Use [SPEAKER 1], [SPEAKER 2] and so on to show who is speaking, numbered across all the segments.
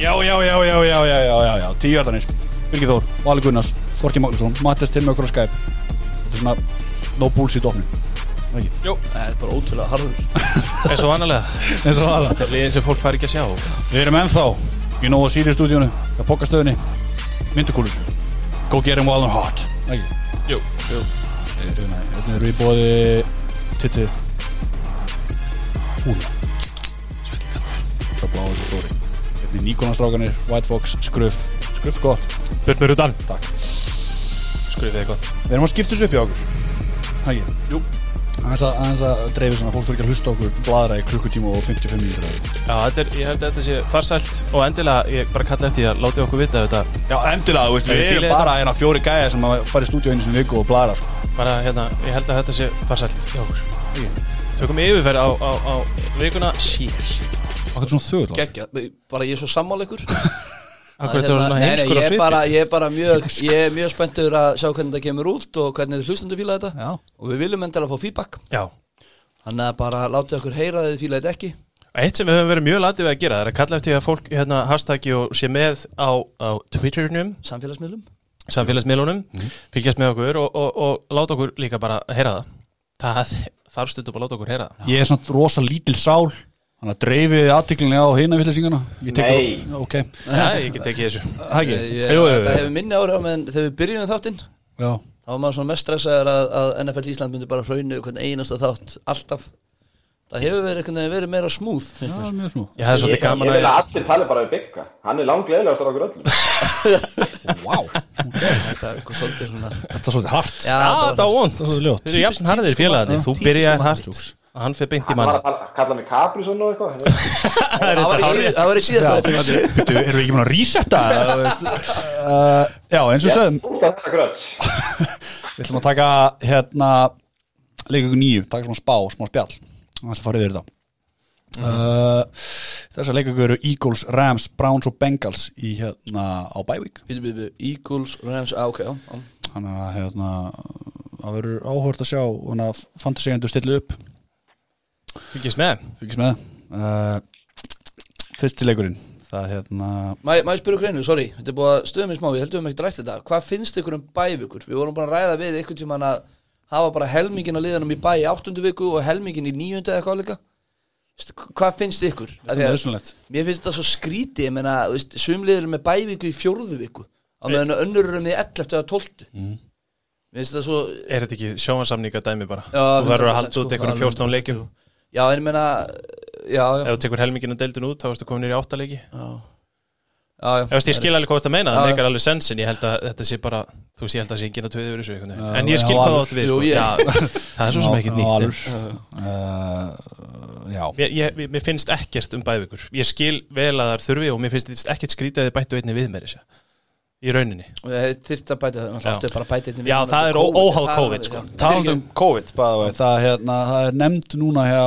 [SPEAKER 1] Já, já, já, já, já, já, já, já, já. Tíu hjartanir. Vilgi Þór, Vali Gunnars, Þorki Magnússon, Mattias Timmi okkur á Skype. Þetta er svona no bullshit ofni.
[SPEAKER 2] Jó,
[SPEAKER 3] Það er bara ótrúlega harður
[SPEAKER 2] eins og annarlega
[SPEAKER 1] En svo aðla.
[SPEAKER 2] Þetta er liðin sem fólk fær ekki að sjá
[SPEAKER 1] Við erum ennþá í Nova Sirius stúdíónu, á pokastöðunni, myndukúlur. Go get him wild and hot. Ekki.
[SPEAKER 2] Jú, jú
[SPEAKER 1] Þetta eru Hérna í bóði Titti Húla Svo bláðu svo stóri Þetta Hérna er Nikonastrákanir, White Fox, Skruf Skruf gott
[SPEAKER 4] Burt mér utan
[SPEAKER 2] Skrifið er gott
[SPEAKER 1] Við erum að skipta þessu upp í okkur Hægi
[SPEAKER 2] Jú.
[SPEAKER 1] Aðeins að, aðeins að dreifu svona Fólk þurfi ekki að hlusta á okkur Bladra í klukkutíma og 55 mínútur
[SPEAKER 2] Já, þetta er, ég held að þetta sé farsælt og endilega, ég bara kalla eftir því að láti okkur vita þetta
[SPEAKER 1] Já, endilega, þú veist Við
[SPEAKER 2] Við
[SPEAKER 1] erum
[SPEAKER 2] fílið
[SPEAKER 1] bara hérna fjóri gæja sem að fara í stúdíu einu sinni í viku og bladra sko.
[SPEAKER 2] bara, hérna, ég held að þetta sé farsælt hjá okkur Tökum yfirferð á, á, á vikuna sér
[SPEAKER 1] Akkur svona þögul
[SPEAKER 3] Gekkja, bara ég er svo sammála ykkur
[SPEAKER 2] Akkur þetta var svona heimskur á
[SPEAKER 3] hérna, ég, er
[SPEAKER 2] svipi
[SPEAKER 3] bara, ég er bara mjög Ég er mjög spenntur að sjá hvernig þetta kemur út og hvernig þið hlustendur fíla þetta
[SPEAKER 1] Já
[SPEAKER 3] og við viljum endilega fá feedback
[SPEAKER 2] Já,
[SPEAKER 3] þannig að bara látið okkur heyra að þið fíla þetta ekki
[SPEAKER 2] eitt sem við höfum verið mjög latið við að gera það er að kalla eftir því að fólk hérna hashtaggi og sé með á, á Twitternum
[SPEAKER 3] samfélagsmiðlum
[SPEAKER 2] samfélagsmiðlunum, fylgjast með okkur og, og, og láta okkur líka bara heyra það það þarf stundum að láta okkur heyra það
[SPEAKER 1] Ég er svona rosa lítil sál Þannig að dreifið aðtiklinni á hina villesingana
[SPEAKER 5] Nei.
[SPEAKER 1] Ok
[SPEAKER 2] Já, ég get ekki þessu
[SPEAKER 1] Hægi
[SPEAKER 3] Ég-
[SPEAKER 2] Jú, jú, jú.
[SPEAKER 3] þetta hefur minni áhrif á mig en þegar við byrjum þáttinn
[SPEAKER 1] Já
[SPEAKER 3] þá var maður svona mest stressaður að, að NFL Ísland myndi bara hraunu hvern einasta þátt alltaf það hefur verið, einhvern veginn verið meira smúð finnst
[SPEAKER 1] Það
[SPEAKER 3] mér
[SPEAKER 1] er mjög smú
[SPEAKER 2] Ég hefði svolítið
[SPEAKER 5] Ég
[SPEAKER 2] gaman
[SPEAKER 5] ég vil
[SPEAKER 2] að
[SPEAKER 5] að allir tala bara við Bigga Hann er langleðilegastur okkur öllum
[SPEAKER 1] Wow
[SPEAKER 3] þetta er eitthvað svolítið svona já,
[SPEAKER 1] Þetta er svolítið hart
[SPEAKER 2] Já, það var vond
[SPEAKER 1] Það var ljótt.
[SPEAKER 2] Þeir eru jafn harðir félagarnir Þú byrjaði hart og hann fyrir beint í
[SPEAKER 5] Hann var
[SPEAKER 2] mann
[SPEAKER 5] að tala, kalla mig Caprison og eitthvað
[SPEAKER 3] það var í síð- það var í síðast þátt
[SPEAKER 1] Þú erum við ekki búin að resetta eða, þú veist? Uh, Já, eins og
[SPEAKER 5] Ég
[SPEAKER 1] sögum
[SPEAKER 5] út af þetta gröts
[SPEAKER 1] Við ætlum að taka hérna leik ykkur nýju, taka svona spá, smá spjall Þannig að fara yfir þetta uh, Þessar leik ykkur eru Eagles, Rams, Browns og Bengals í hérna á bævík
[SPEAKER 3] Bíddu, bíddu, bíddu. Eagles, Rams, á, ok, já, já
[SPEAKER 1] Þannig að hérna það verður áhört að sjá þannig að fantasíendur stillu upp
[SPEAKER 2] Fylgjast með
[SPEAKER 1] fylgjast með uh, Fyrsti leikurinn það hérna
[SPEAKER 3] Má ég má ég spyrja okkur einu, sorry, þetta er búið að stöðum í smá, við heldum ekki að rætt þetta Hvað finnst ykkur um bævikur? Við vorum búin að ræða við ykkur tímann að hafa bara helmingin að liðanum í bæ í áttundu viku og helmingin í níundu eða eitthvað líka Veistu, Hvað finnst ykkur? Af því að
[SPEAKER 1] Nöðsynlegt
[SPEAKER 3] Mér finnst þetta svo skrítið, ég meina, þú veist, sumliður með bæviku í fjórðu viku á meðan önnur eru með 11 eða 12
[SPEAKER 2] Mhm.
[SPEAKER 3] Mér finnst þetta svo,
[SPEAKER 2] Er þetta ekki sjóansamninga dæmi bara
[SPEAKER 3] Já,
[SPEAKER 2] Þú verður að
[SPEAKER 3] 100%
[SPEAKER 2] halda út
[SPEAKER 3] sko,
[SPEAKER 2] einhvern
[SPEAKER 3] alveg
[SPEAKER 2] 14 leikjum
[SPEAKER 3] já, en ég meina, já, já,
[SPEAKER 2] Ef þú tekur helmingin og deildin út þá ertu komin nýri átta leiki Ef
[SPEAKER 3] já, já
[SPEAKER 2] þú veist, ég skil alveg hvað þetta meina
[SPEAKER 3] Já,
[SPEAKER 2] Það
[SPEAKER 3] já.
[SPEAKER 2] meikar alveg sensin Ég held að þetta sé bara Þú veist, ég held að sé enginn að töði yfir þessu einhvern veginn.
[SPEAKER 1] Já,
[SPEAKER 2] En ég
[SPEAKER 1] já,
[SPEAKER 2] skil hvað
[SPEAKER 1] alveg.
[SPEAKER 2] þú átt við
[SPEAKER 3] Jú,
[SPEAKER 2] sko.
[SPEAKER 3] ég-
[SPEAKER 2] Já, Það er svo sem ekki nýtt en-
[SPEAKER 1] uh, Já
[SPEAKER 2] Mér, ég, mér- mér finnst ekkert um bæðvíkur Ég skil vel að þar þurfi og mér finnst ekkert skrítið að þið bættu einni við mér þessu Í rauninni
[SPEAKER 3] Þyrft að bæta það,
[SPEAKER 2] Já.
[SPEAKER 3] náttúrulega áttu bara að bæta
[SPEAKER 2] Já,
[SPEAKER 3] einni viku með
[SPEAKER 2] það er ó- óháð
[SPEAKER 3] það
[SPEAKER 2] COVID,
[SPEAKER 3] var-
[SPEAKER 2] sko.
[SPEAKER 3] já.
[SPEAKER 1] Talandi um COVID by the way, það, hérna, það er nefnd núna hjá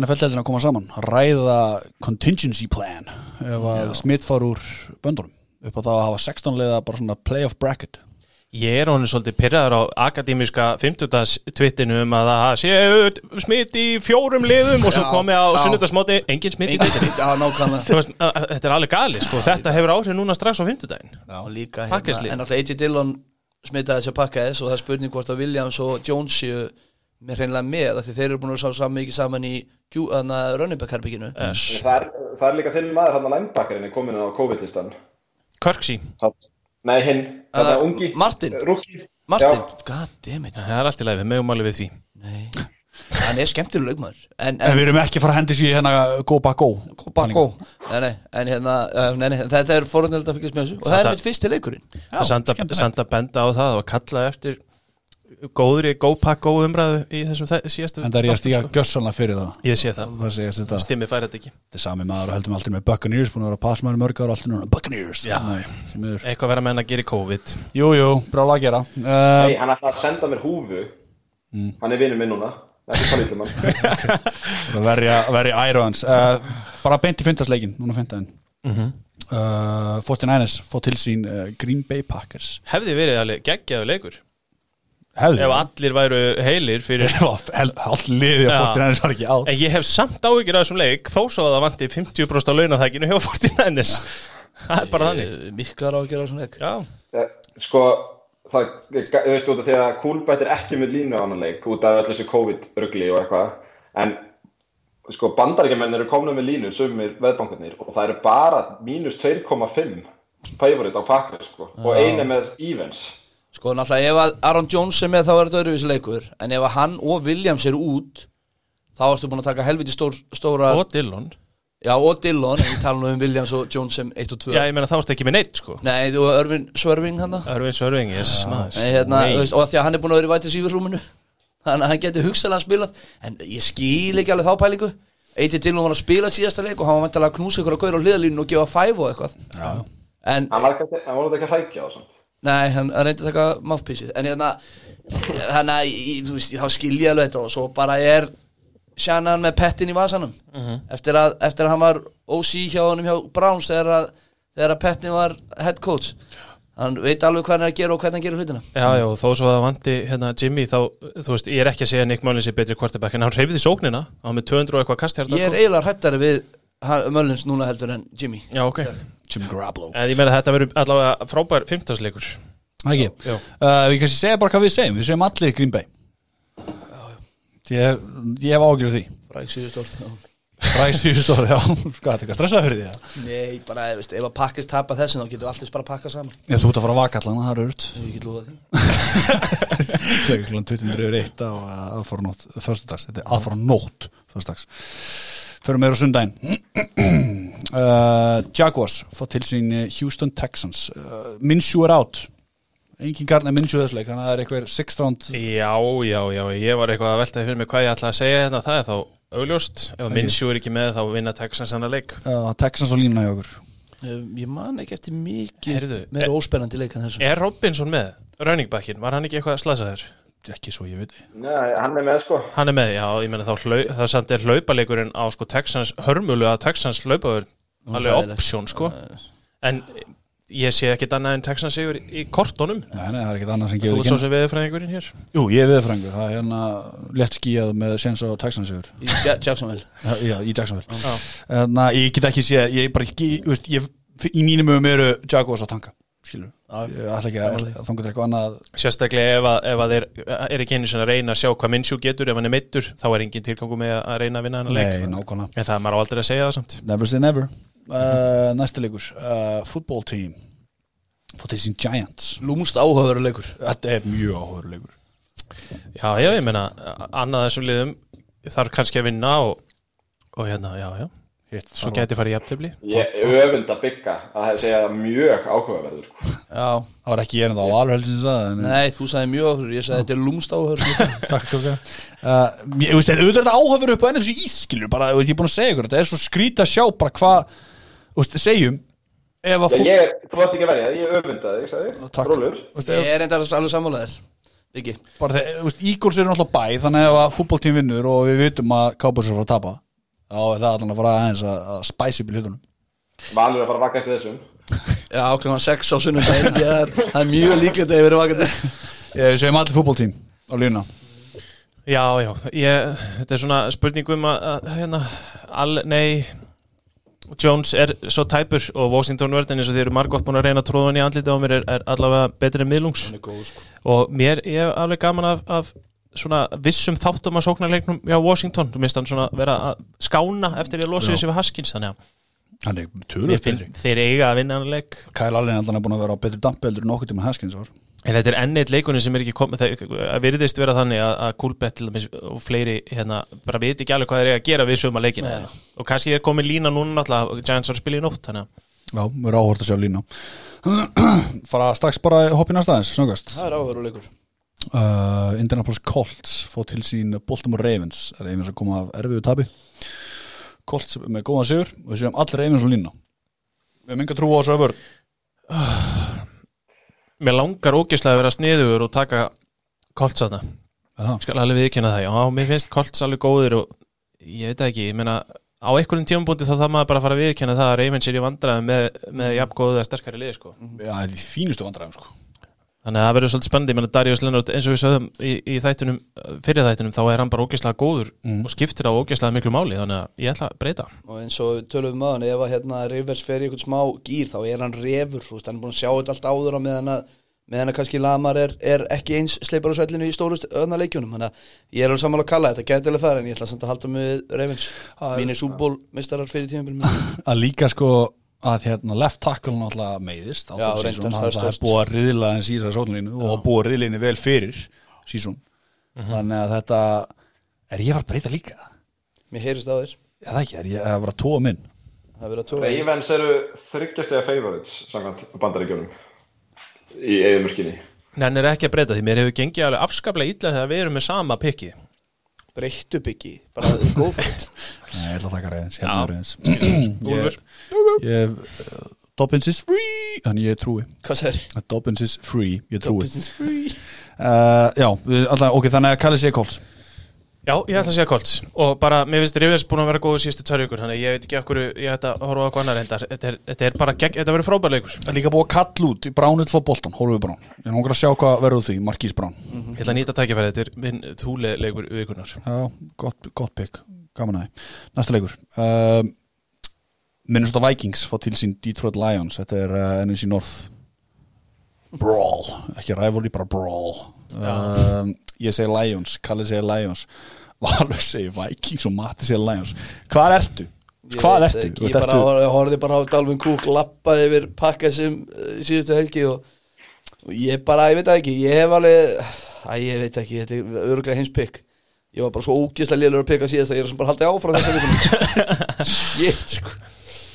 [SPEAKER 1] NFL-deldin að koma saman að ræða contingency plan ef að smitt far úr böndunum upp á það að hafa 16 leiða bara svona playoff bracket
[SPEAKER 2] Ég er honum svolítið pyrraður á akademíska 50. twittinu um að það séu smitt í fjórum liðum og svo
[SPEAKER 3] Já,
[SPEAKER 2] komið á
[SPEAKER 3] já.
[SPEAKER 2] sunnudagsmóti engin smitt í deildinni.
[SPEAKER 3] Engin- Já, nákvæmlega
[SPEAKER 2] Þú veist, að- að- Þetta er alveg gali sko, þetta hefur áhrif núna strax á 50
[SPEAKER 3] og líka
[SPEAKER 2] Pakkeslið.
[SPEAKER 3] hérna, en alltaf AJ Dillon smitaði sér pakkaðis og það er spurning hvort að Williams og Jones séu með hreinlega með af því þeir eru búin að sá saman mikið saman í Rönnibækherbygginu
[SPEAKER 2] Yes.
[SPEAKER 5] það, er- það er líka þinn maður hann að lænbakkarinn er komin inn á COVID-listan
[SPEAKER 2] Körksi,
[SPEAKER 5] Það- Nei, hinn, þetta
[SPEAKER 3] Uh,
[SPEAKER 5] ungi
[SPEAKER 3] Martin.
[SPEAKER 5] Rúki
[SPEAKER 3] Martin,
[SPEAKER 5] Já,
[SPEAKER 3] goddammit
[SPEAKER 2] það er allt í lagi, við mögum alveg við því
[SPEAKER 3] hann er skemmtileg lögmaður en,
[SPEAKER 1] En
[SPEAKER 3] en,
[SPEAKER 1] við erum ekki að fara að hendi sér hérna go back go
[SPEAKER 3] Bakko nei, nei, en hérna, uh, nei, nei, þetta er forunlega að fylgjast með þessu og það er
[SPEAKER 2] Sata.
[SPEAKER 3] mitt fyrsti leikurinn
[SPEAKER 2] Það er samt að- samt að benda á það og kalla eftir góðri, góðpakk, góð umræðu í þessum þæ- síðastu
[SPEAKER 1] En það er ég að stíga
[SPEAKER 2] þáttum, sko.
[SPEAKER 1] gjössanlega fyrir það
[SPEAKER 2] Ég sé það,
[SPEAKER 1] Það segja sér þetta
[SPEAKER 2] stimmi fær þetta ekki
[SPEAKER 1] Þetta er sami maður og heldum alltaf með Buccaneers búin að vera að passa maður í mörg ára og alltaf núna Buccaneers
[SPEAKER 2] Já.
[SPEAKER 1] Nei, því miður.
[SPEAKER 2] Eitthvað verða með henn að gera í COVID
[SPEAKER 1] Jú, jú, brála að gera uh,
[SPEAKER 5] nei, hann ætlaði að senda mér húfu Hann er vinur minn núna Ekki tala ítlum hann
[SPEAKER 1] verja, verja Irons uh, bara beint í fyndasleikin núna fyndaðin Mhm. uh, 49ers fótt til sín uh, Green Bay Packers
[SPEAKER 2] Hefði verið alveg geggjaðu leikur
[SPEAKER 1] hefði
[SPEAKER 2] Ef allir væru heilir fyrir
[SPEAKER 1] all liði að
[SPEAKER 2] Já.
[SPEAKER 1] 49ers var ekki á
[SPEAKER 2] En ég hef samt áhyggjur af þessum leik þó svo að það vanti 50% á launatækinu hjá 49ers það er bara þannig
[SPEAKER 3] Ég- Uh, Miklar á að gera svona leik
[SPEAKER 2] já,
[SPEAKER 5] Þe- Sko, það, ég- þú veist, út af því að Kúlbætt er ekki með línu á annan leik út af allir þessu COVID-rugli og eitthvað en sko, bandaríkjamenn eru komna með línu sumir veðbankarnir og það eru bara mínus 2,5 favorit á pakkar, sko, og eina með Evans
[SPEAKER 3] Sko náttúrulega ef að Aaron Jones er með þá er þetta öðruvísi leikur En ef að hann og Williams eru út Þá ertu búin að taka helviti stór, stóra
[SPEAKER 2] og Dillon
[SPEAKER 3] Já og Dillon En ég tala nú um Williams og Jones sem 1 og 2
[SPEAKER 2] já, ég meina þá ertu ekki með neitt sko
[SPEAKER 3] Nei og Örvin Svörving hann það
[SPEAKER 2] Örvin Svörving, yes maður
[SPEAKER 3] Nei, hérna,
[SPEAKER 2] Nei.
[SPEAKER 3] þú veist, Og því að hann er búin að vera í vætið sífurrúminu Þannig að hann geti hugsaðlega spilað En ég skil ekki alveg þá pælingu AJ Dillon var að spila síðasta leik Og hann var vantilega að knúsa ykkur að gauður á hliðalínu Og gefa 5 og eitthvað Já. En
[SPEAKER 5] hann var ekki, hann var ekki að hrækja á þessant
[SPEAKER 3] Nei, hann hann reyndi að taka mouthpieceið En hérna Þannig að, í- þú veist, þá skil ég alveg þetta Og svo bara er Shannon með pettin í vasanum eftir, að, eftir að hann var OC hjá honum hjá Browns Þegar að, þegar að pettin var head coach Hann veit alveg hvað hann er að gera og hvernig hann gerir hlutina
[SPEAKER 2] já, já, og þó svo að það vandi hérna Jimmy þá, þú veist, ég er ekki að segja að Nick Mullins er betri quarterback en hann reyfði sóknina á með 200 og eitthvað kast hérna, sko.
[SPEAKER 3] Ég er eiginlega hrættari við hann- Mullins núna heldur en Jimmy
[SPEAKER 2] já, ok
[SPEAKER 1] Jim Garoppolo
[SPEAKER 2] en ég meina að þetta verður allavega frábær 15 leikur
[SPEAKER 1] Það ekki
[SPEAKER 2] Já.
[SPEAKER 1] uh, Við kannski segja bara hvað við segjum Við segjum allir Green Bay Ég, ég hef ágjörð því
[SPEAKER 3] Fræk síðust orð já.
[SPEAKER 1] Ræst í þessu orði, já Hvað, þetta er stressað fyrir því það?
[SPEAKER 3] Nei, bara, veist, ef að pakkist tapa þessu Þá getur alltaf bara að pakka saman
[SPEAKER 1] Ég þú ert að fara að vaka allan, það er öðrut
[SPEAKER 3] Ég get lofað því
[SPEAKER 1] Klukkan 21.01 á aðfara nótt Föstudags, þetta er aðfara nótt Föstudags Förum meður á sundaginn uh, Jaguars fá til sín eh, Houston Texans uh, Minshew er out Engin garn er Minshew þessleik Þannig að það er eitthvað 6 round
[SPEAKER 2] Já, já, já, ég var eitthvað að veltaði fyrir mig hvað ég ætla að segja þetta, það er þá augljóst ef Minsjú er ekki með þá vinna Texans hennar leik
[SPEAKER 1] uh, Texans og línuna hjá okkur
[SPEAKER 3] Um, Ég man ekki eftir mikið
[SPEAKER 2] Heyrðu,
[SPEAKER 3] meira óspennandi leik en þessum
[SPEAKER 2] Er Robinson með? Running backin, var hann ekki eitthvað slasaður? Ekki svo, ég veit
[SPEAKER 5] Nei, hann er með, sko
[SPEAKER 2] Hann er með, já, ég meina þá hlau, það samt er hlaupaleikurinn á sko Texans, hörmulu að Texans hlaupavörn, alveg
[SPEAKER 3] hræðileg.
[SPEAKER 2] option sko, en ég sé ekkit annað en Texans sigur í kortunum
[SPEAKER 1] Nei, nei, það er ekkert annað sem gefur
[SPEAKER 2] Þú ert
[SPEAKER 1] ekki
[SPEAKER 2] svo sem veðurfræðingurinn hér
[SPEAKER 1] Jú, ég er viðfrængur, það er hérna létt skíjað með séns á Texans yfir
[SPEAKER 3] Í Ja- Jacksonville
[SPEAKER 1] Já, í Jacksonville Þannig að ég get ekki sé, ég bara ekki, þú veist, ég, í mínum um eru Jaguars að tanka, skilur Ég ætla ekki að þanga til eitthvað annað
[SPEAKER 2] Sérstaklega ef að, ef að þeir er ekki einu sinni að reyna að sjá hvað Minsjú getur ef hann er meittur, þá er engin tilgangu með að reyna að vinna hann leik
[SPEAKER 1] Nei, nákvæmlega
[SPEAKER 2] En það er maður á aldrei að segja það samt
[SPEAKER 1] Never say never uh, Næsta leikur, uh, football team Fótið sín Giants
[SPEAKER 3] Lúmst áhugaveru leikur
[SPEAKER 1] Þetta er mjög áhugur leikur
[SPEAKER 2] Já, já, ég meina, annað þessum liðum þarf kannski að vinna og, og hérna, já, já Hitt, Svo gæti farið í jafntefli
[SPEAKER 5] ég öfund að bygga að það segja það mjög áhugaverður, sko
[SPEAKER 3] Já
[SPEAKER 1] Það var ekki ég en það á alveg sem sagði en-
[SPEAKER 3] Nei, þú sagði mjög áhugaveru Ég sagði þetta er lúmst áhugaveru
[SPEAKER 1] Takk ok uh, Ég veist, þetta- auðvitað er þetta áhafur upp á NFC ískilur bara, þú veist, ég er búin að segja ykkur, þetta er svo skrýt að sjá bara hvað, þú veist, segjum ef að
[SPEAKER 5] Já,
[SPEAKER 1] fólk
[SPEAKER 5] ég, þú ert ekki að verja það, ég öfunda þig, sagði
[SPEAKER 1] Takk.
[SPEAKER 5] Rólur
[SPEAKER 1] Þú veist,
[SPEAKER 3] Ég
[SPEAKER 1] ef,
[SPEAKER 3] er enda alveg sammálaðir Viki
[SPEAKER 1] bara þegar, þú veist, Eagles eru náttúrulega bæ þannig að ef að fútboltím vinnur og við vitum að Cowboys eru að fara að tapa þá er það allan að fara aðeins að, að spæsi upp í hlutunum
[SPEAKER 5] Valur að fara að vaka eftir þessum
[SPEAKER 3] Já, klokkan 6 á sunnundaginn Ég er, það er mjög líklegt að ég verið vakandi
[SPEAKER 1] Ég Eh, segjum allir fútboltím á línuna
[SPEAKER 2] Já, já, ég, þetta er svona spurning um að, að hérna, al, nei Jones er svo tæpur og Washington verðin eins og þeir eru margótt búin að reyna tróðan í andliti á mér er, er allavega betri en miðlungs og mér ég er alveg gaman af, af svona vissum þáttum að sókna leiknum hjá Washington, þú minnst hann svona vera að skána eftir ég losi
[SPEAKER 1] Já.
[SPEAKER 2] þessi við Haskins þannig að
[SPEAKER 1] Hann er
[SPEAKER 2] Ég
[SPEAKER 1] tölur
[SPEAKER 2] finn, þeir eiga að vinna hann leik
[SPEAKER 1] Kyle Allen er allan að búin að vera á betri dampeeldur en okkur tíma Haskins var
[SPEAKER 2] en þetta er ennið leikunni sem er ekki komið það virðist vera þannig að, að Kulbett til dæmis og fleiri hérna bara veit ekki alveg hvað þeir eiga að gera við sögum að leikina
[SPEAKER 3] Nei.
[SPEAKER 2] og kannski er komið lína núna náttúrulega Giants var að spila í nótt þannig að
[SPEAKER 1] Já, við erum áhort að sjá línuna Fara strax bara að hoppa í næsta aðeins, snöggast
[SPEAKER 3] Það er áhugaveru leikur
[SPEAKER 1] uh, Indianapolis Colts fóð til sín Baltimore Ravens Ravens að koma af erfiðu tabi Colts með góðan sigur og við séum allir Ravens og línna við hefum enga trú á þessu að vörn
[SPEAKER 2] mér langar ógislega að vera sniður og taka Colts að það
[SPEAKER 1] Aha.
[SPEAKER 2] skal alveg viðkynna það, já, mér finnst Colts alveg góðir og ég veit það ekki, ég meina á einhverjum tímabúndi þá það maður bara að fara að viðkynna það að Ravens er í vandræðum með, með jafn góðu eða sterkari liði sko.
[SPEAKER 1] Já, það er því fínustu vandræðum sko.
[SPEAKER 2] þannig Þannig að það verður svolítið spennandi, ég menna Darius Lennart eins og við sögðum í, í þættunum, fyrir þættunum þá er hann bara ógeðslega góður og skiptir á ógeðslega miklu máli, þannig að ég ætla að breyta
[SPEAKER 3] og eins og við tölum við maður ef að hérna Rivers fer í eitthvað smá gýr þá er hann refur, þú veist, hann er búin að sjá þetta allt áður á meðan að, meðan að kannski Lamar er, er ekki eins sleipar á svellinu í stóru öðna leikjunum, þannig að ég er alveg sammála að kalla þetta, gæti alveg fara en ég ætla samt að halda mig við Ravens, mínir súból mistarar fyrir tímabilum,
[SPEAKER 1] að líka sko að hérna left tackle náttúrulega meiðist á
[SPEAKER 3] Já,
[SPEAKER 1] þessum
[SPEAKER 3] reyndar,
[SPEAKER 1] season.
[SPEAKER 3] það
[SPEAKER 1] það
[SPEAKER 3] er
[SPEAKER 1] er það er
[SPEAKER 3] stórt.
[SPEAKER 1] búið að riðla en síðan sóknlínu og búið að riðla henni vel fyrir sísón þannig að þetta er ég var að breyta líka
[SPEAKER 3] mér heyrist á þér
[SPEAKER 1] eða ekki, er ég að vera að tóa minn
[SPEAKER 3] það er verið að tóra
[SPEAKER 5] Ravens eru þryggjastega favorites samkvæmt bandaríkjunum í eigumörkinni
[SPEAKER 2] Nenn er ekki að breyta því, mér hefur gengið alveg afskaplega illa þegar við erum með sama pikki
[SPEAKER 3] breyttu byggi, bara go for it
[SPEAKER 1] Nei, ég ætla að taka reyðins, hérna
[SPEAKER 2] Já.
[SPEAKER 1] er reyðins ég, ég uh, Dobbins is free þannig ég trúi,
[SPEAKER 3] hvað sér?
[SPEAKER 1] að Dobbins is free ég trúi,
[SPEAKER 3] Dobbins is free
[SPEAKER 1] uh, já, við- allan, ok, þannig að Kallis ég Colts
[SPEAKER 2] Já, ég ætla að segja Colts og bara, mér finnst Rivers búin að vera góður síðustu tvær ykkur þannig að ég veit ekki okkur, ég ætla að horfa á okkur annar reyndar þetta er, þetta er bara, gegn, þetta verður frábær leikur
[SPEAKER 1] Það er líka búið að kalla út í Bránut fór Bolton, Hólfur Brán Ég er langar að sjá hvað verður úr því, Markís Brán
[SPEAKER 2] Ég ætla að nýta tækifæri, þetta er minn túle leikur vikunar
[SPEAKER 1] Já, gott, gott pick, gaman aðeins Næsta leikur um, Minnesota Vikings fá til sín Detroit Lions Þetta er uh, NFC North Brawl, ekki rivalry, bara brawl um, Ég segi Lions, Kalli segi Lions Valur segi Vikings og Matti segi Lions Hvað ertu?
[SPEAKER 3] Ég
[SPEAKER 1] Sko, Hvað
[SPEAKER 3] veit
[SPEAKER 1] ertu?
[SPEAKER 3] ekki,
[SPEAKER 1] Þú
[SPEAKER 3] Ég
[SPEAKER 1] veist,
[SPEAKER 3] bara
[SPEAKER 1] ertu?
[SPEAKER 3] horfði- horfði bara á Dalvin Cook lappa yfir pakka sem uh, síðustu helgi og, og ég bara, ég veit það ekki ég hef alveg, æ, ég veit ekki þetta er örgulega hins pikk ég var bara svo ógeðslega lélur að pikka síðast að ég er sem bara haldið áfram þessa vikunum shit sko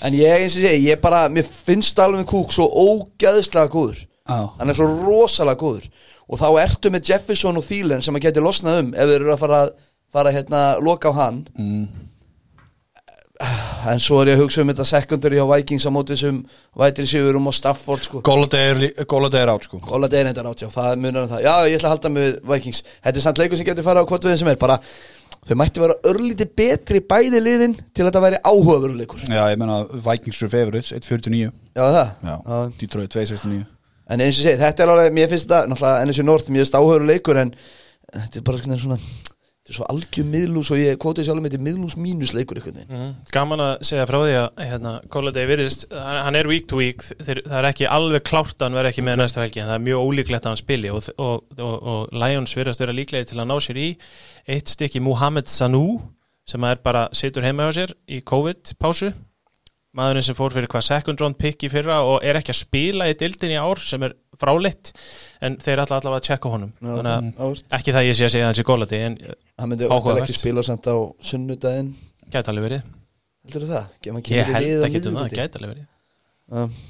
[SPEAKER 3] en ég eins og segi, ég bara, mér finnst Dalvin Cook svo ógeðslega góður
[SPEAKER 1] Já.
[SPEAKER 3] hann er svo rosalega góður og þá ertu með Jefferson og Thielen sem að geti losnað um ef þeir eru að fara, fara hérna, loka á hann mm. en svo er ég að hugsa um þetta secondary á Vikings á móti sem vætir sigurum og Stafford sko
[SPEAKER 1] Golladay er lí- Golladay er átt sko
[SPEAKER 3] Góla deginn þetta rátt, já, það munar um það Já, ég ætla að halda mig við Vikings Þetta er samt leikur sem getur fara á hvort við sem er bara, Þau mættu vera örlítið betri bæði liðin Til að þetta væri áhugaveru leikur Já,
[SPEAKER 1] Já, ég meina Vikings eru favorites, 1.49
[SPEAKER 3] það
[SPEAKER 1] Já,
[SPEAKER 3] Já.
[SPEAKER 1] Detroit 2.69
[SPEAKER 3] En eins og ég segi, þetta er alveg, mér finnst þetta náttúrulega NSU North, mér finnst áhöru leikur en þetta er bara svona, svona þetta er svo algjör miðlús og ég kvótið sjálfum þetta er miðlús mínus leikur einhvern veginn
[SPEAKER 2] Mm, gaman að segja frá því að hérna, Golladay virðist, hann, hann er week to week þeir, það er ekki alveg klárt að hann verði ekki með næsta helgi en það er mjög ólíklegt að hann spili og, og, og, og Lions virðast vera líklegir til að ná sér í eitt stykki Mohamed Sanu sem er bara situr heima hjá sér í COVID-pásu maðurinn sem fór fyrir hvað second round pick í fyrra og er ekki að spila í dildin í ár sem er fráleitt en þeir ætla allavega að tjekka honum þannig að
[SPEAKER 3] Áhört.
[SPEAKER 2] ekki það ég sé að segja hans í Golladay en
[SPEAKER 3] Hann myndi
[SPEAKER 2] Áhugavert.
[SPEAKER 3] væntanlega ekki spila samt á sunnudaginn
[SPEAKER 2] gæti alveg verið
[SPEAKER 3] heldur það? Gef hann
[SPEAKER 2] ég
[SPEAKER 3] kemur í
[SPEAKER 2] held
[SPEAKER 3] lið á
[SPEAKER 2] að getum það,
[SPEAKER 3] miðvikudegi?
[SPEAKER 2] gæti alveg verið
[SPEAKER 3] Já.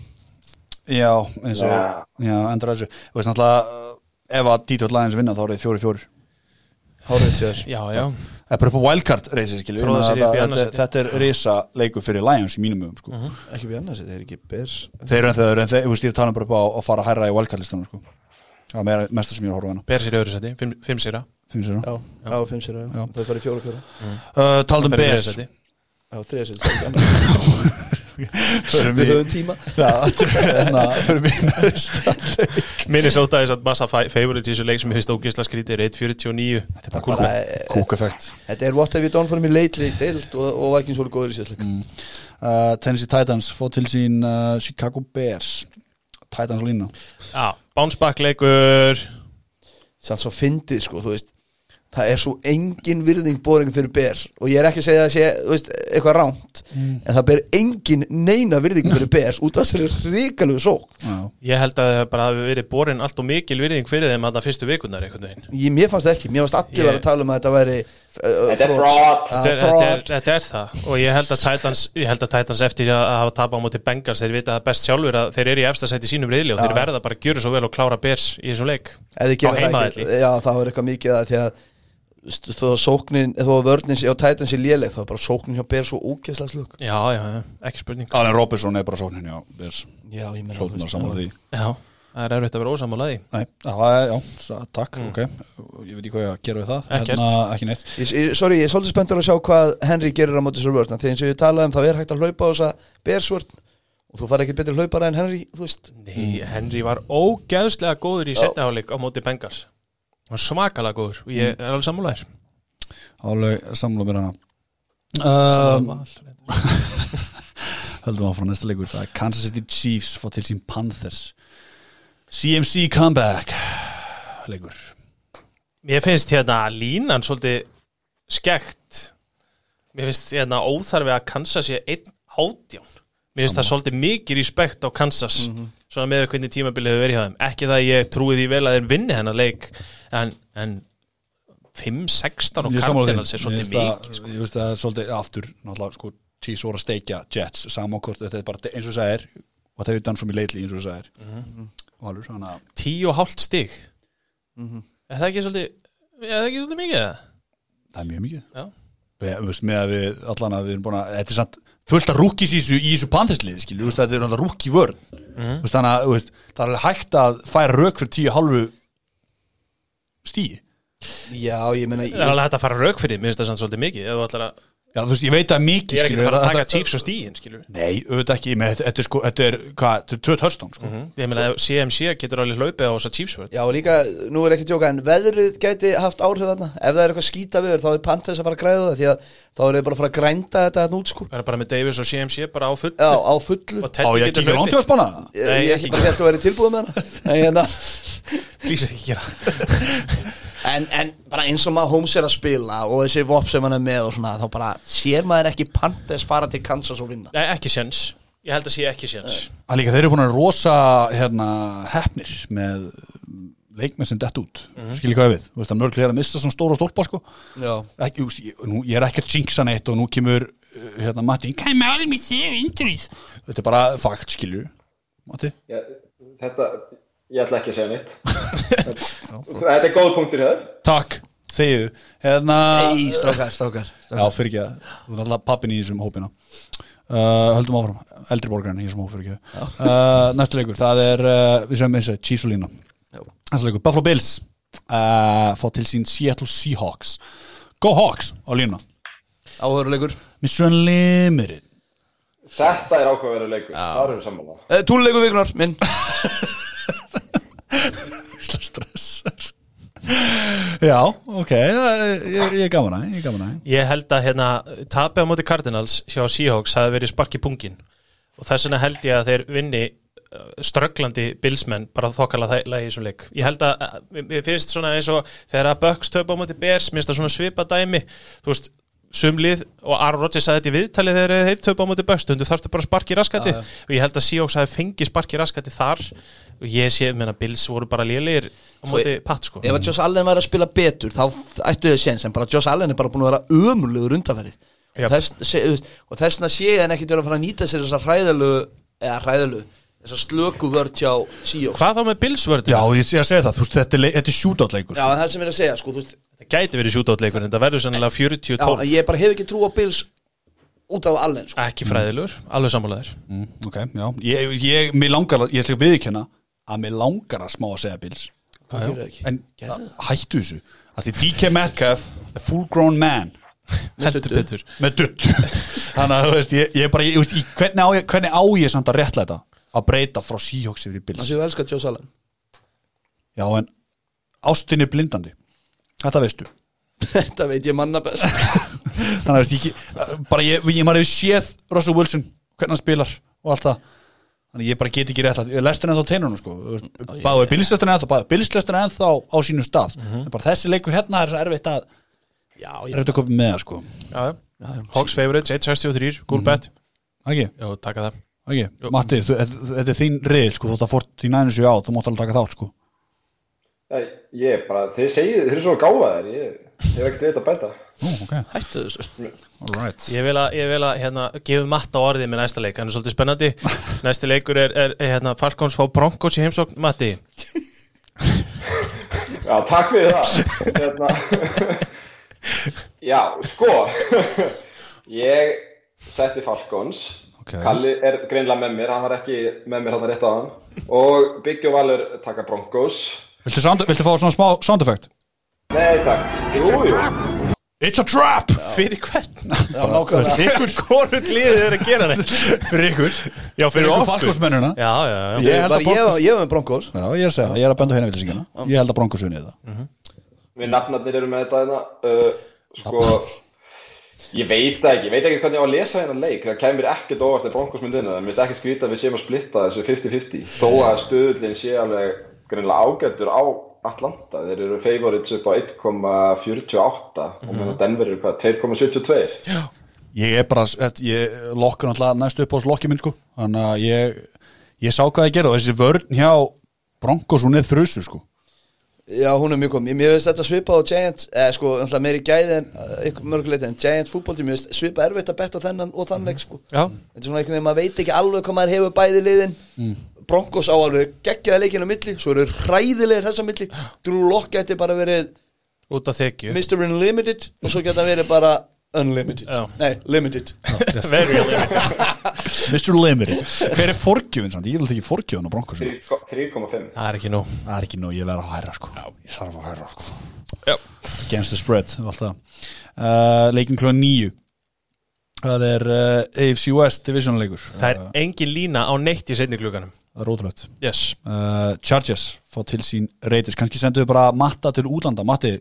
[SPEAKER 1] Já, eins og
[SPEAKER 5] Já.
[SPEAKER 1] Já, endur þessu Þú veist náttúrulega uh, Ef að Detroit Lions vinna þá er það fjóri fjóri
[SPEAKER 3] Hárrétt hjá þér.
[SPEAKER 2] Já, já,
[SPEAKER 1] Það er bara upp á wildcard reysið skilju
[SPEAKER 2] Tróða sér í upp í
[SPEAKER 1] þetta,
[SPEAKER 2] annað sæti.
[SPEAKER 1] þetta er reysa leiku fyrir Lions í mínum mögum sko.
[SPEAKER 3] Ekki við annars, þetta er ekki bers
[SPEAKER 1] Þeir eru en þeir, en þeir, þú veist, ég er talað bara upp á að fara að hærra í wildcard listanum sko. Það er meira- mesta sem ég er að horfa á hana
[SPEAKER 2] ber sér í öðru seti, fimm, fimm sýra
[SPEAKER 1] Fimm sér
[SPEAKER 3] Já, á fimm sér
[SPEAKER 1] Já.
[SPEAKER 3] Það er farið fjóra fjóra
[SPEAKER 1] uh, Talað um Bears
[SPEAKER 2] Þetta
[SPEAKER 3] Já, þriða sér
[SPEAKER 1] Förum
[SPEAKER 3] Við
[SPEAKER 1] í-
[SPEAKER 3] höfum tíma
[SPEAKER 1] Já, þetta er hérna, förum í næsta leik.
[SPEAKER 2] Minni sóta þess að massa fa- favorites í þessu leik sem ég finnst ógisla skrítið er 1.49
[SPEAKER 1] Þetta er
[SPEAKER 3] Bara,
[SPEAKER 1] bara
[SPEAKER 3] eh,
[SPEAKER 1] kúkeffekt
[SPEAKER 3] Þetta er what have you done for me lately deild og, og Vikings voru góður í sér mm.
[SPEAKER 1] uh, Tennessee Titans fóð til sín uh, Chicago Bears Titans lína
[SPEAKER 2] Já, bounce back leikur
[SPEAKER 3] sann svo fyndið sko, þú veist það er svo engin virðing boring fyrir ber og ég er ekki að segja að sé, þú veist, eitthvað ránt
[SPEAKER 2] Mm.
[SPEAKER 3] en það ber engin neina virðing fyrir ber út af þessari ríkalegu sók
[SPEAKER 1] Já,
[SPEAKER 2] Ég held að það bara hafi verið borin allt og mikil virðing fyrir þeim að það fyrstu vikunar einhvern veginn
[SPEAKER 3] ég, mér fannst það ekki, mér fannst allir
[SPEAKER 2] Ég-
[SPEAKER 3] vera að tala um að þetta væri uh,
[SPEAKER 5] Þetta er fraud.
[SPEAKER 3] Ah,
[SPEAKER 2] Þetta er- þetta er-
[SPEAKER 3] fraud.
[SPEAKER 2] þetta er það og ég held að Titans, ég held að Titans eftir að, að hafa tapa á móti Bengals þeir vita það best sjálfur að þeir eru í efstasæti sínum reyðli og þeir verða bara að gjöra svo vel og klára Bears í þessum leik
[SPEAKER 3] Ef
[SPEAKER 2] Á
[SPEAKER 3] þið gera það ekki,
[SPEAKER 2] heimavelli.
[SPEAKER 3] já það var eitthvað mikið að því að st- þó að sóknin, þó að vörnin sé- á tætans sé léleg, þá er bara sóknin hjá ber svo ókesslega slug
[SPEAKER 2] Já, já, já, ekki spurning
[SPEAKER 1] Allen Robinson er bara sóknin já, Bears
[SPEAKER 3] já, ég meina þú
[SPEAKER 1] Hlóðum að
[SPEAKER 3] veist,
[SPEAKER 1] saman
[SPEAKER 3] já.
[SPEAKER 1] því
[SPEAKER 2] Já, það er erfitt að vera ósamálaði
[SPEAKER 1] Nei, það er, já, sa- takk, ok Ég veit ekki hvað ég á að gera við það
[SPEAKER 2] Mm.
[SPEAKER 1] Hérna,
[SPEAKER 2] Ekkert.
[SPEAKER 1] Ekki neitt
[SPEAKER 3] Ég, ég, sorry, ég er svolítið spenntur að sjá hvað Henry gerir á móti sér vörðna því eins og ég talaði um það er hægt að hlaupa á þessa bersvörn og og þú farið ekki betri hlaupara en Henry, þú veist
[SPEAKER 2] Nei, Henry var ógeðslega góður í
[SPEAKER 3] Já.
[SPEAKER 2] setniháleik á móti Bengals Hann var svakalega góður og
[SPEAKER 1] Mm.
[SPEAKER 2] ég er alveg sammálaðir
[SPEAKER 1] Alveg samlum er hana um,
[SPEAKER 2] Sammála.
[SPEAKER 1] Höldum áfram næsta leikur Það er Kansas City Chiefs fá til sín Panthers CMC comeback leikur
[SPEAKER 2] Mér finnst hérna línan svolítið skekkt Mér finnst hérna óþarfi að Kansas sé einn átján Mér finnst það svolítið mikið respekt á Kansas
[SPEAKER 1] Mhm.
[SPEAKER 2] svona með hvernig tímabilið hefur verið hjá þeim Ekki það að ég trúi því vel að þeir vinni hennar leik en, en 5, 16 og
[SPEAKER 1] Ég er sammála
[SPEAKER 2] Cardinals
[SPEAKER 1] þeim. Mér
[SPEAKER 2] er svolítið
[SPEAKER 1] finnst að-
[SPEAKER 2] mikið sko.
[SPEAKER 1] Ég veist að það er svolítið aftur náttúrulega sko Chiefs voru að steikja Jets saman hvort þetta er bara de- eins og það er og það er utan frá mér leitli eins og það er
[SPEAKER 2] Mhm.
[SPEAKER 1] og alveg svona
[SPEAKER 2] 10 og hálft stig
[SPEAKER 1] Mhm.
[SPEAKER 2] Er það ekki svolítið Er það ekki svolítið mikið? eða?
[SPEAKER 1] það er mjög mikið
[SPEAKER 2] Já.
[SPEAKER 1] Við- þú veist, með að við allan að við erum búin að þetta er samt fullt að rúkis í þessu, í þessu panþesslið skilju, þetta er náttúrulega rúki vörn
[SPEAKER 2] Mhm.
[SPEAKER 1] mm. veist, þannig að þú veist, það er alveg hægt að færa rauk fyrir tíu hálfu stíi
[SPEAKER 3] já, ég meina,
[SPEAKER 2] Það er alveg hægt að fara rauk fyrir, mér finnst það samt svolítið mikið ef þú ætlar að-
[SPEAKER 1] Já, þú veist, ég veit að mikið
[SPEAKER 2] Ég er ekki
[SPEAKER 1] skilur,
[SPEAKER 2] að fara að
[SPEAKER 1] þetta-
[SPEAKER 2] taka Chiefs og stíin, skilur
[SPEAKER 1] Nei, auðvitað ekki, með, þetta, þetta er sko, þetta er, hvað, þetta er tvö törstón sko.
[SPEAKER 2] Ég meina, ef CMC getur alveg hlaupið á þessa Chiefs-vörð
[SPEAKER 3] já, og líka, nú er ekki að djóka en veðrið gæti haft áhrif þarna ef það er eitthvað skýta viður, þá er Panthers að fara að græða það því að þá eru þeir bara að fara að grænda þetta hérna út sko,
[SPEAKER 2] Það er bara með Davis og CMC bara á full
[SPEAKER 3] já, á fullu
[SPEAKER 2] Og
[SPEAKER 1] Á,
[SPEAKER 2] Teddy
[SPEAKER 1] ég
[SPEAKER 2] getur
[SPEAKER 1] ekki langt í
[SPEAKER 2] hlaupið
[SPEAKER 1] að spána það
[SPEAKER 3] ég,
[SPEAKER 2] Nei,
[SPEAKER 3] ég er
[SPEAKER 2] ekki.
[SPEAKER 3] ekki bara hægt að vera tilbúið með hana en, hérna,
[SPEAKER 2] Please ekki gera
[SPEAKER 3] en, en bara eins og maður Holmes er að spila og þessi vop sem hann er með og svona, þá bara sér maður ekki Panthers fara til Kansas og vinna
[SPEAKER 2] Nei, ekki séns Ég held að sé ekki séns
[SPEAKER 1] Að líka, þeir eru búin að rosa hérna, hefnir með leikmenn sem dett út, mm
[SPEAKER 2] Mhm.
[SPEAKER 1] -hmm. skilji hvað ég við þú veist, að mörglega er að missa svona stóra stólpa sko.
[SPEAKER 3] já,
[SPEAKER 1] ekki, þú veist, ég, nú, ég er ekki að jinxa neitt og nú kemur uh, hérna Matti, hvað málum ég séu indrýð þetta er bara fakt, skilju Matti,
[SPEAKER 5] ég, þetta, ég ætla ekki að segja neitt þetta er góð punktur hér
[SPEAKER 1] takk, segju hérna,
[SPEAKER 3] Í, strákar, strákar, strákar.
[SPEAKER 1] já, fyrir ekki að þú er alltaf pappin í þessum hópina uh, höldum áfram, eldri borgarinn í þessum hóp fyrir ekki uh, næsta leikur, það er uh, við sem eins og Chiefs og Lína næsta leikur, Buffalo Bills uh, fá til sín Seattle Seahawks Go Hawks á Lína
[SPEAKER 3] áhörulegur
[SPEAKER 1] Mr. Unlimited
[SPEAKER 5] þetta er ákveðverður leikur, það erum við sammála
[SPEAKER 3] uh, túlulegu vikunar, minn
[SPEAKER 1] Ísla stressar Já, ok það er- Ég, ég er gaman að, ég er gaman að
[SPEAKER 2] Ég held að hérna Tapið á móti Cardinals hjá Seahawks hafi verið spark í pungin Og þess vegna held ég að þeir vinni uh, strögglandi bilsmenn bara þokkala þæla í þessum leik ég held að, uh, mér finnst svona eins og þegar að Bucks töpa á móti Bears, mér finnst það svona svipa dæmi þú veist, sumlið og Aaron Rodgers sagði þetta í viðtalið þegar þeir töpa á móti Bucks, stundu þarftu bara spark í raskati og ég held að Seahawks hafi fengið spark í raskati þar og ég sé, menna, Bills voru bara lélegir á
[SPEAKER 3] Svo
[SPEAKER 2] móti
[SPEAKER 3] ég-
[SPEAKER 2] Pat sko
[SPEAKER 3] Ef að Josh Allen væri að spila betur þá f- ættu þið séns en bara Josh Allen er bara búin að vera ömurlegur undanferðið
[SPEAKER 2] Já.
[SPEAKER 3] og þess- se- þú veist, og þessna sé hann ekkit vera að fara að nýta sér þessar hræðalögu eða hræðalögu þessar slöku vörd hjá Seahawks
[SPEAKER 2] Hvað þá með Bills vörðina?
[SPEAKER 1] Já, ég, ég segi það, þú veist, þetta er, le- þetta er shootout leikur
[SPEAKER 3] Já, en það sem ég er að segja sko, þú veist,
[SPEAKER 2] Það gæti verið sjútáttleikur en það verður sennilega
[SPEAKER 3] já, en
[SPEAKER 2] 40-12
[SPEAKER 3] ég bara hef ekki trú á Bills út af Allen sko.
[SPEAKER 2] Ekki fræðilegur, alveg sammálaður
[SPEAKER 1] mm, Ok, já, ég, ég, mér langar að- Ég ætla ekki að viðkjanna að mér langar að smá að segja Bills
[SPEAKER 3] Hvað gerir það ekki?
[SPEAKER 1] En hættu þessu að því DK Metcalf er full grown man
[SPEAKER 2] Heldur
[SPEAKER 3] tuttu.
[SPEAKER 2] betur
[SPEAKER 1] með dutt þannig að þú veist, ég, ég bara, ég, veist, ég, hvernig, á ég, hvernig á ég samt að rétla þetta að breyta frá Seahawks yfir í Bills
[SPEAKER 3] Það séu elskar Josh Allen
[SPEAKER 1] Já, en ástin er blindandi Þetta veistu
[SPEAKER 3] Þetta veit ég manna best
[SPEAKER 1] Þannig að veist, ég, ekki- bara ég, ég maður hefur séð Russell Wilson, hvernig hann spilar og allt það Þannig að ég bara get ekki rétt að ég lestin ennþá teinunum sko Þú veist, Báði bilslestin ennþá, báði bilslestin ennþá á sínum stað En bara þessi leikur hérna er svo erfitt að
[SPEAKER 2] Já,
[SPEAKER 1] Erfitt að kopa með það sko
[SPEAKER 2] já Hawks favorites, 1.63, cool bet
[SPEAKER 1] Ekki,
[SPEAKER 2] Jó, taka það
[SPEAKER 1] ekki, Matti, þú, þetta- þetta er þín reyð sko Þú þátt að fórt þín aðeins í á, þú mátt alveg taka þátt sko
[SPEAKER 5] Nei, ég er bara, þið segið, þið eru svo gáfaðir ég, ég hef ekkert veit að bæta
[SPEAKER 1] Nú, ok,
[SPEAKER 3] Hættu þessu
[SPEAKER 1] all right
[SPEAKER 2] Ég vil að, ég vil að hérna, gefa matta á orðið með næsta leik Hann er svolítið spennandi Næsti leikur er, er er, hérna, Falcons fá Broncos í heimsókn Matti
[SPEAKER 5] Já, takk fyrir það hérna. Já, sko Ég setti Falcons
[SPEAKER 1] Ok.
[SPEAKER 5] Kalli er greinlega með mér, hann var ekki með mér hann rétt á hann og Byggjo Valur taka Broncos
[SPEAKER 1] Viltu, sound, viltu fá svona smá sound effect?
[SPEAKER 5] Nei, takk, jú, jú
[SPEAKER 1] It's a trap
[SPEAKER 2] Fyrir hvern?
[SPEAKER 3] Já, nákvæmlega
[SPEAKER 2] Ykkur hvorut liðið er að gera neitt
[SPEAKER 1] Fyrir ykkur
[SPEAKER 2] Já, fyrir
[SPEAKER 1] ykkur
[SPEAKER 2] okkur
[SPEAKER 1] falkosmennuna
[SPEAKER 2] Já, já, já
[SPEAKER 1] Ég held
[SPEAKER 3] Bara
[SPEAKER 1] að Broncos
[SPEAKER 3] Ég var- ég var með Broncos
[SPEAKER 1] Já, ég er að segja það, ég er að benda á hérna vitlisingina Ég held að Broncos unnið það
[SPEAKER 5] Við nafnarnir eru með þetta hérna uh, Sko Ég veit það ekki, ég veit ekki hvernig ég á að lesa hérna leik Það kemur ekkert óvart að Broncos myndinu Það minnst ekki skrýta að við séum að splitta þessu 50-50 Þó að stöðullin sé alveg Greinlega ágættur á Atlanta Þeir eru favorites upp á 1,48 Og meðan Denver eru hvað, 2,72
[SPEAKER 1] Ég er bara, þetta- ég lokkur náttúrulega næstu upp á þessu lokki minn sko Þannig að ég, ég sá hvað ég gera og þessi vörn hjá Broncos hún er þrusu sko
[SPEAKER 3] Já, hún er mjög kom Mér finnst þetta svipað á Giants eh, Sko, náttúrulega meiri gæði en uh, mörguleiti en Giants fútbolti Mér finnst svipað erfitt að betta þennan og þannleik sko
[SPEAKER 1] Mhm.
[SPEAKER 2] Já,
[SPEAKER 3] Þetta er svona einhvern veginn, maður veit ekki alveg hvað maður hefur bæði liðin
[SPEAKER 1] Mhm.
[SPEAKER 3] Broncos á alveg geggjaða leikinu á milli Svo eru hræðilegir þessa milli Drew Locke gæti bara verið
[SPEAKER 2] út af þekju
[SPEAKER 3] Mr. Unlimited Og svo geta hann verið bara Unlimited
[SPEAKER 2] Já.
[SPEAKER 3] Nei, limited
[SPEAKER 2] Very limited
[SPEAKER 1] Mr. Limited Hver er forgjöfin samt? Ég vil ekki forgjöfin á Broncos
[SPEAKER 5] 3,5
[SPEAKER 2] Það er ekki nú
[SPEAKER 1] Það er ekki nóg, ég verð að hæra sko Ég þarf að hæra sko
[SPEAKER 2] Já.
[SPEAKER 1] Against the spread, alltaf uh, Leikin klóðan nýju Það er uh, AFC West Division leikur
[SPEAKER 2] Það er engin lína á neitt í seinni kluganum
[SPEAKER 1] Það er ótrúlegt
[SPEAKER 2] Yes
[SPEAKER 1] uh, Chargers fá til sín reytis kannski sendu við bara Matta til útlanda Matti,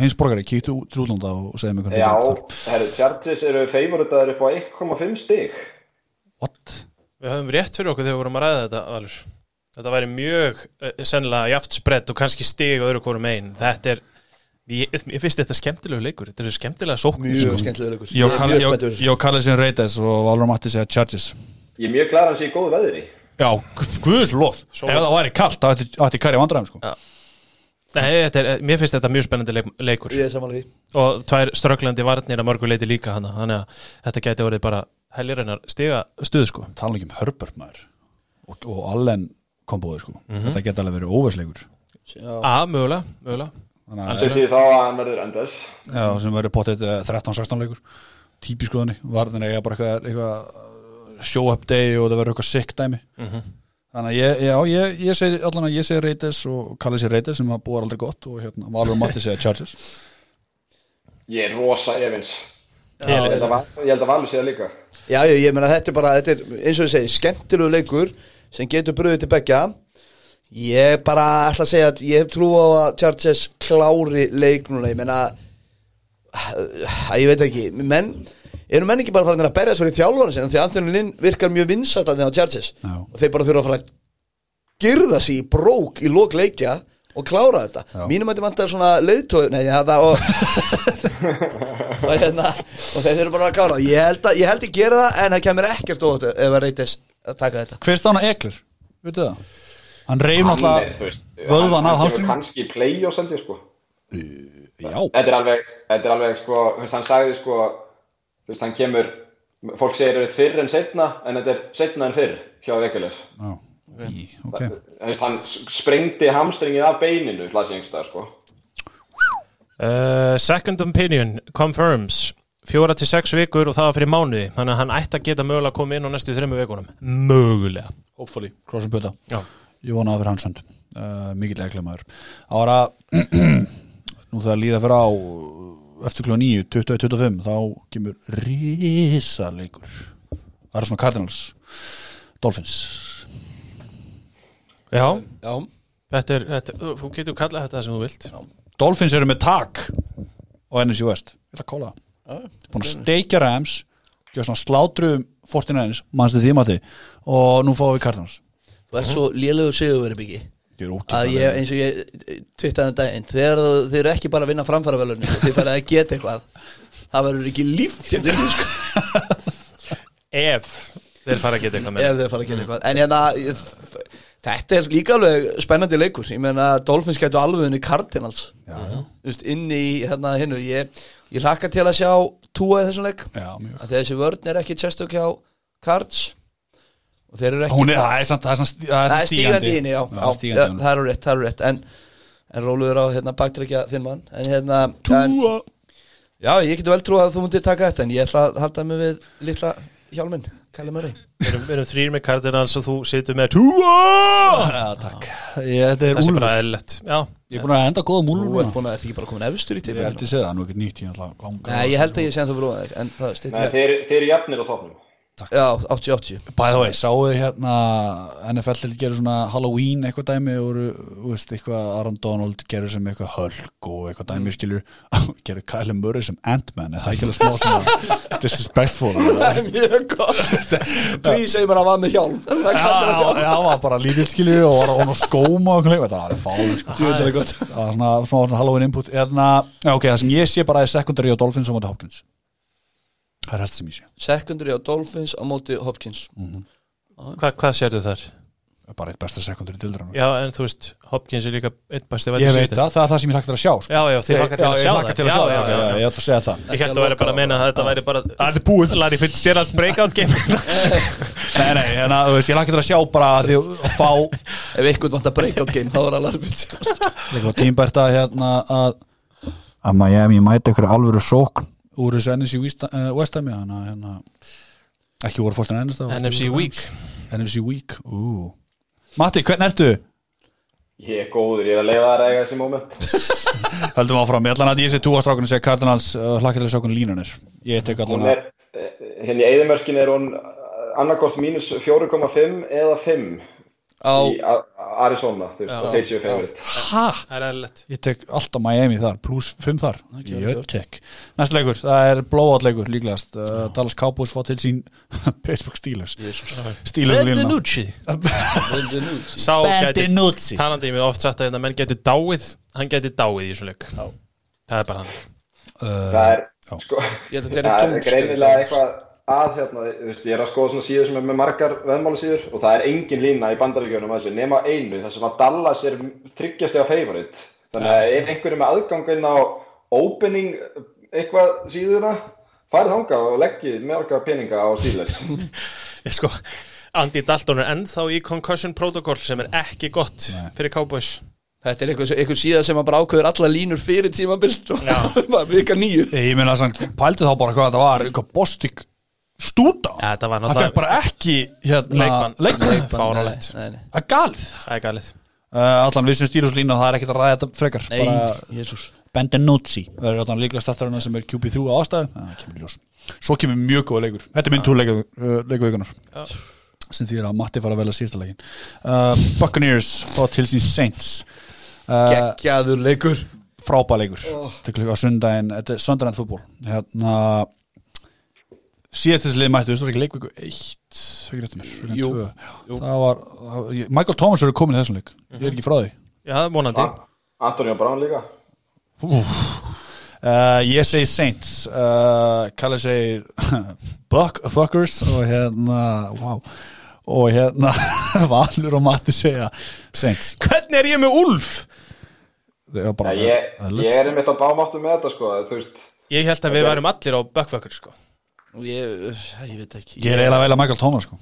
[SPEAKER 1] heimsborgari, kíktu út til útlanda og segja mig hvernig
[SPEAKER 5] Já,
[SPEAKER 1] gengur þar.
[SPEAKER 5] herru, Chargers eru favoritaðir upp á 1,5 stig
[SPEAKER 1] What?
[SPEAKER 2] Við höfum rétt fyrir okkur þegar við vorum að ræða þetta alveg. Þetta væri mjög eh, sennilega jaft spredd og kannski stig og öðru hvorum einn Þetta er, ég, ég finnst þetta skemmtilegu leikur Þetta eru skemmtilega sóknir
[SPEAKER 3] Mjög skemmtilega leikur
[SPEAKER 1] Jó,
[SPEAKER 3] Ég er
[SPEAKER 1] Kalli-
[SPEAKER 3] mjög
[SPEAKER 1] Jó,
[SPEAKER 3] spenntur.
[SPEAKER 1] Jó Kallið sín reytis og Valur og Matti segja Chargers
[SPEAKER 5] Ég er mjög glæðan að sé í góðu veðri
[SPEAKER 1] Já, guðslof Ef
[SPEAKER 2] Sól.
[SPEAKER 1] það væri kallt, það ætti- ætti kæri vandræðum sko.
[SPEAKER 2] Nei, þetta er, mér finnst þetta mjög spennandi leik- leikur
[SPEAKER 3] Ég er samanlega því
[SPEAKER 2] og tvær strögglandi varnir að mörgu leiti líka hana þannig að þetta gæti orðið bara heljarinnar stiga stuð sko
[SPEAKER 1] tala ekki um Herbert maður og, og Allen komboði sko þetta geta alveg verið óversleikur
[SPEAKER 3] Já.
[SPEAKER 2] A, mögulega, mögulega
[SPEAKER 1] þannig að
[SPEAKER 5] Sem því þá að hann verður enders
[SPEAKER 1] já, sem verið potið 13-16 leikur típisku þannig, varðin eiga bara eitthvað, eitthvað show up day og það verður eitthvað sick dæmi
[SPEAKER 5] Mhm.
[SPEAKER 1] þannig að ég, já, ég, ég segi allan að ég segi Reiters og kallið sér Reiters sem að búa aldrei gott og hérna, Valur og Matti segja Chargers
[SPEAKER 5] Ég er rosa efins
[SPEAKER 2] Ég-
[SPEAKER 5] Ég held að Val- ég held að Valur sé það líka
[SPEAKER 3] Já, já, ég meina þetta er bara, þetta er eins og ég segi, skemmtilegu leikur sem getur bröðið til begja Ég bara ætla að segja að ég hef trú á að Chargers klári leik núna, ég meina að ég veit ekki, menn eru menn ekki bara farin að berjast fyrir þjálfana sinna því að Anthony Linn virkar mjög vinsat að þeim á Chargers
[SPEAKER 1] Já.
[SPEAKER 3] og þeir bara þurfa að fara að girða sig í brók í lok leikja og klára þetta,
[SPEAKER 1] Já.
[SPEAKER 3] mínum að þetta vantar svona leiðtóð, nei, það og og, hérna, og þeir eru bara að kára ég held að, ég held að gera það en það kemur ekkert óvægt ef að reytis að taka þetta
[SPEAKER 1] hver stána Ekler, veitu það hann reyf
[SPEAKER 5] Hann er,
[SPEAKER 1] náttúrulega
[SPEAKER 5] þú veist,
[SPEAKER 1] vöðvann
[SPEAKER 5] hann-
[SPEAKER 1] af
[SPEAKER 5] hann kemur
[SPEAKER 1] hamstringnum.
[SPEAKER 5] kannski í play og sendi sko
[SPEAKER 1] já,
[SPEAKER 5] þetta er alveg, þetta er alveg sko, þú veist, hann sagði sko þú veist, hann kemur, fólk segir þetta fyrr en setna, en þetta er setna en fyrr hjá Vekulur,
[SPEAKER 1] já. Í, ok
[SPEAKER 5] þú veist, hann s- sprengdi hamstringið af beininu, las ég einhverstað sko
[SPEAKER 2] uh, Second opinion confirms fjóra til sex vikur og það var fyrir mánuði þannig að hann ætti að geta mögulega að koma inn á næstu þremmu vikunum mögulega
[SPEAKER 1] hopefully, crossum byrta
[SPEAKER 2] Já.
[SPEAKER 1] Ég vona að vera hans hönd uh, Mikill eglamaður Ára Nú það líða fyrir á Eftir klúa 9, 2025 Þá kemur risaleikur Það eru svona Cardinals Dolphins
[SPEAKER 2] Já,
[SPEAKER 3] Já,
[SPEAKER 2] þetta er, þetta, uh, þú getur kallað þetta sem þú vilt
[SPEAKER 1] Dolphins eru með tak á NFC West Ég ætla að kóla það Búin að steikja Rams Gjör svona slátru 49ers Manstu því mati Og nú fáum við Cardinals
[SPEAKER 3] þú ert svo lélegu sigurveri byggi
[SPEAKER 1] Ég er
[SPEAKER 3] að
[SPEAKER 1] ókvæmlega
[SPEAKER 3] ég, eins og ég tvittaði um daginn þegar þú, þið eru ekki bara að vinna framfæravelunni þið færið að geta eitthvað það verður ekki líf hérna, inni, sko,
[SPEAKER 2] Ef þeir fara að geta eitthvað með
[SPEAKER 3] ef þið fara að geta eitthvað en hérna ég, þetta er líka alveg spennandi leikur ég meina Dolphins gætu alveg unni Cardinals
[SPEAKER 1] Já, já.
[SPEAKER 3] Just inni í hérna hinnu ég, ég hlakka til að sjá túa í þessum leik
[SPEAKER 1] Já, mjög
[SPEAKER 3] að því að þessi vörn er ekki sérstök hjá Cards og þeir eru ekki
[SPEAKER 1] Hún er, það er samt- það er samt- það er
[SPEAKER 3] það er stígandi inni, já, já,
[SPEAKER 1] stígandi
[SPEAKER 3] já,
[SPEAKER 1] í henni.
[SPEAKER 3] það eru rétt, það eru rétt en, en róluður á hérna baktrekja þinn mann en hérna en,
[SPEAKER 1] Tua
[SPEAKER 3] já, ég geti vel trú að þú mútið taka þetta en ég ætla að halda mig við litla hjálminn Kæli Murray
[SPEAKER 2] Við erum, við erum þrýr með Cardinals og þú situr með Tua
[SPEAKER 1] Já, takk ég, Þetta er
[SPEAKER 2] Þessi er
[SPEAKER 1] úlfur
[SPEAKER 2] bara eðlilegt Já,
[SPEAKER 1] Ég er búin að enda góða múlur
[SPEAKER 3] Þú
[SPEAKER 1] núna
[SPEAKER 3] ert búin að, ertu ekki bara komin efstur í
[SPEAKER 1] Ég
[SPEAKER 3] tippinu?
[SPEAKER 1] held ég segja það, nú er ekkert nýtt hérna Ég er alltaf langa
[SPEAKER 3] Nei, ég held að ég sé en þú bróðan þig En það
[SPEAKER 5] Nei,
[SPEAKER 3] stýttir
[SPEAKER 5] þeir, þeir eru jafnir á topnum
[SPEAKER 3] Já, 80-80
[SPEAKER 1] By the way, sáu þið hérna NFL til gerir svona Halloween eitthvað dæmi og eru, þú veist, eitthvað Aaron Donald gerir sem eitthvað hölk og eitthvað
[SPEAKER 3] Mm.
[SPEAKER 1] dæmi skilur, gerir Kyle Murray sem Ant-Man, eða það er ekki alveg smá svona disrespectful
[SPEAKER 3] Mjög gott Því segir mér að var með hjálm Það
[SPEAKER 1] Já, já, já, hann var bara lítill skilur og var hann á skóma og eitthvað, það var fáið sko
[SPEAKER 3] Djöfull er það gott.
[SPEAKER 1] Það var svona, svona, svona Halloween input eðna, já, ok, það sem ég sé bara er secondary á Dolphins og móti Hopkins Það er allt sem ég sé,
[SPEAKER 3] Secondary á Dolphins á móti Hopkins
[SPEAKER 2] Hva, hvað sérðu þar?
[SPEAKER 1] bara eitt besta secondary til dæmi
[SPEAKER 2] Já, en þú veist, Hopkins er líka einn besti
[SPEAKER 1] Ég
[SPEAKER 2] verður
[SPEAKER 1] veit það, það er það sem ég hlakka til að sjá sko.
[SPEAKER 2] Já, já, þið hlakka til að
[SPEAKER 1] Já, ég
[SPEAKER 2] sjá
[SPEAKER 1] hlakka
[SPEAKER 2] það
[SPEAKER 1] til að
[SPEAKER 2] Já,
[SPEAKER 1] sjá það,
[SPEAKER 2] já,
[SPEAKER 1] já, já,
[SPEAKER 2] já, já.
[SPEAKER 1] ég ætla að segja það
[SPEAKER 2] Ég held að vera bara að meina að þetta væri bara
[SPEAKER 1] Það er búið
[SPEAKER 2] Larry Fitzgerald breakout game
[SPEAKER 1] Nei, nei, hérna, þú veist, ég lakka til að sjá bara að því að fá
[SPEAKER 3] Ef einhvern vant að break out game þá er alveg alveg
[SPEAKER 1] Líka á tímbært að hérna að að Miami mæti ykkur alvöru sókn úr þessu NFC West- eh, West Ham þannig að hérna ekki voru fólk hérna en ennist
[SPEAKER 2] NFC Week
[SPEAKER 1] NFC Week, ú Matti, hvernig ertu?
[SPEAKER 5] Ég er góður, ég er að leifa það að eiga þessi moment
[SPEAKER 1] Höldum áfram, ég ætlan að ég sé túastrákunni segja Cardinals uh, hlakka til að sjá hvernig línan er Ég tek
[SPEAKER 5] Hún
[SPEAKER 1] allan að
[SPEAKER 5] er, eh, hérna í eigðumörkin er hún annarkort mínus 4,5 eða 5
[SPEAKER 3] Á
[SPEAKER 5] í A- Arizona, þú veist, að þeir séu favorite
[SPEAKER 1] Hæ?
[SPEAKER 2] Það er eðlilegt
[SPEAKER 1] Ég tek alltaf Miami þar, pluss 5 þar Ég tek Næstu leikur, það er blowout leikur líklegast uh, Dallas Cowboys fá til sín Pittsburgh Steelers Steelers lína
[SPEAKER 2] Bendinucci
[SPEAKER 3] Lindu Nudes
[SPEAKER 2] Sá gæti,
[SPEAKER 1] Bendinucci
[SPEAKER 2] talandi um, ég mér oft sagt að þetta menn gæti dáið Hann gæti dáið í þessum leik Það er bara hann
[SPEAKER 5] Það er,
[SPEAKER 1] já.
[SPEAKER 5] sko,
[SPEAKER 3] Ég held að þetta
[SPEAKER 5] það
[SPEAKER 3] er
[SPEAKER 5] er
[SPEAKER 3] tungst
[SPEAKER 5] greinilega eitthvað að hérna, þú veist, ég er að skoða svona síður sem er með margar veðmáli síður og það er engin lína í bandaríkjunum að þessu, nema einu þar sem að Dallas er þryggjastega favorite þannig að ef einhver er með aðgang inn á opening eitthvað síðuna, farið þangað og leggið mörga peninga á Steelers
[SPEAKER 2] Ég sko, Andy Dalton er ennþá í concussion protocol sem er ekki gott fyrir Cowboys
[SPEAKER 3] Þetta er eitthvað, eitthvað síða sem að bara ákveður alla línur fyrir tímabild og bara vika nýju
[SPEAKER 1] Ég meina samt, pældi þá bara hvað þetta var eitthvað bostik stúta
[SPEAKER 2] Já, þetta var
[SPEAKER 1] Það fekk
[SPEAKER 2] náttúrulega
[SPEAKER 1] bara ekki hérna,
[SPEAKER 2] Leikbann.
[SPEAKER 1] leikbann
[SPEAKER 2] fáránlegt
[SPEAKER 3] Nei, nei,
[SPEAKER 1] Það er galið
[SPEAKER 2] Það er galið
[SPEAKER 1] uh, Allan við sem Steelers lína, það er ekkert að ræða þetta frekar
[SPEAKER 3] nei,
[SPEAKER 1] bara
[SPEAKER 3] jésús
[SPEAKER 1] Bendinucci Það er allan líklega startarinn sem er QB3 á ástæðu Það kemur í ljós Svo kemur mjög góða leikur Þetta er minn túr leikavikunar
[SPEAKER 2] Já.
[SPEAKER 1] sem þýðir að Matti fara að velja síðasta leikin uh, Buccaneers fá til sín Saints
[SPEAKER 3] Eh,
[SPEAKER 1] uh,
[SPEAKER 3] Gekkjaður leikur
[SPEAKER 1] frábæleikur til klukka sundaginn, þetta er sundaginn fútból hérna síðast þessi lið mættu, þetta var ekki leikviku eitt, ekki rétti mér, klukkan
[SPEAKER 3] Jú,
[SPEAKER 1] tvö.
[SPEAKER 3] jú.
[SPEAKER 1] það var, það, var- ég- Michael Thomas eru komin í þessum leik, ég er ekki frá því
[SPEAKER 2] Já, vonandi
[SPEAKER 5] Antonio Brown líka
[SPEAKER 1] Uh, ég segi Saints uh, Kalle segir Buck Fuckers og hérna wow. og hérna Valur og Matti segja Saints
[SPEAKER 2] Hvernig er ég með Ulf?
[SPEAKER 1] Það var bara-
[SPEAKER 5] Já, ég,
[SPEAKER 1] það
[SPEAKER 5] ég er einmitt að bámáttu með þetta sko, þú veist
[SPEAKER 2] Ég held að við værum allir á Buckfucker sko
[SPEAKER 3] Ég, eh, ég veit
[SPEAKER 1] ég
[SPEAKER 3] ekki
[SPEAKER 1] er eiginlega að velja Michael Thomas sko.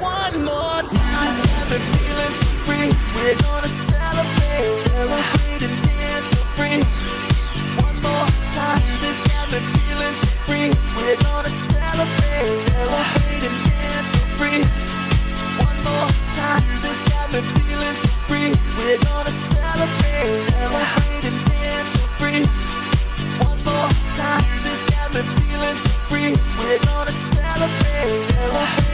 [SPEAKER 4] One more time, got me feeling so free. We're gonna celebrate, celebrate and dance so free. One more time, this got me feeling so free. We're gonna celebrate, celebrate and dance so free. One more time, this got me feeling so free. We're gonna celebrate, celebrate and dance so free. One more time, this got me feeling so free. We're gonna celebrate, celebrate.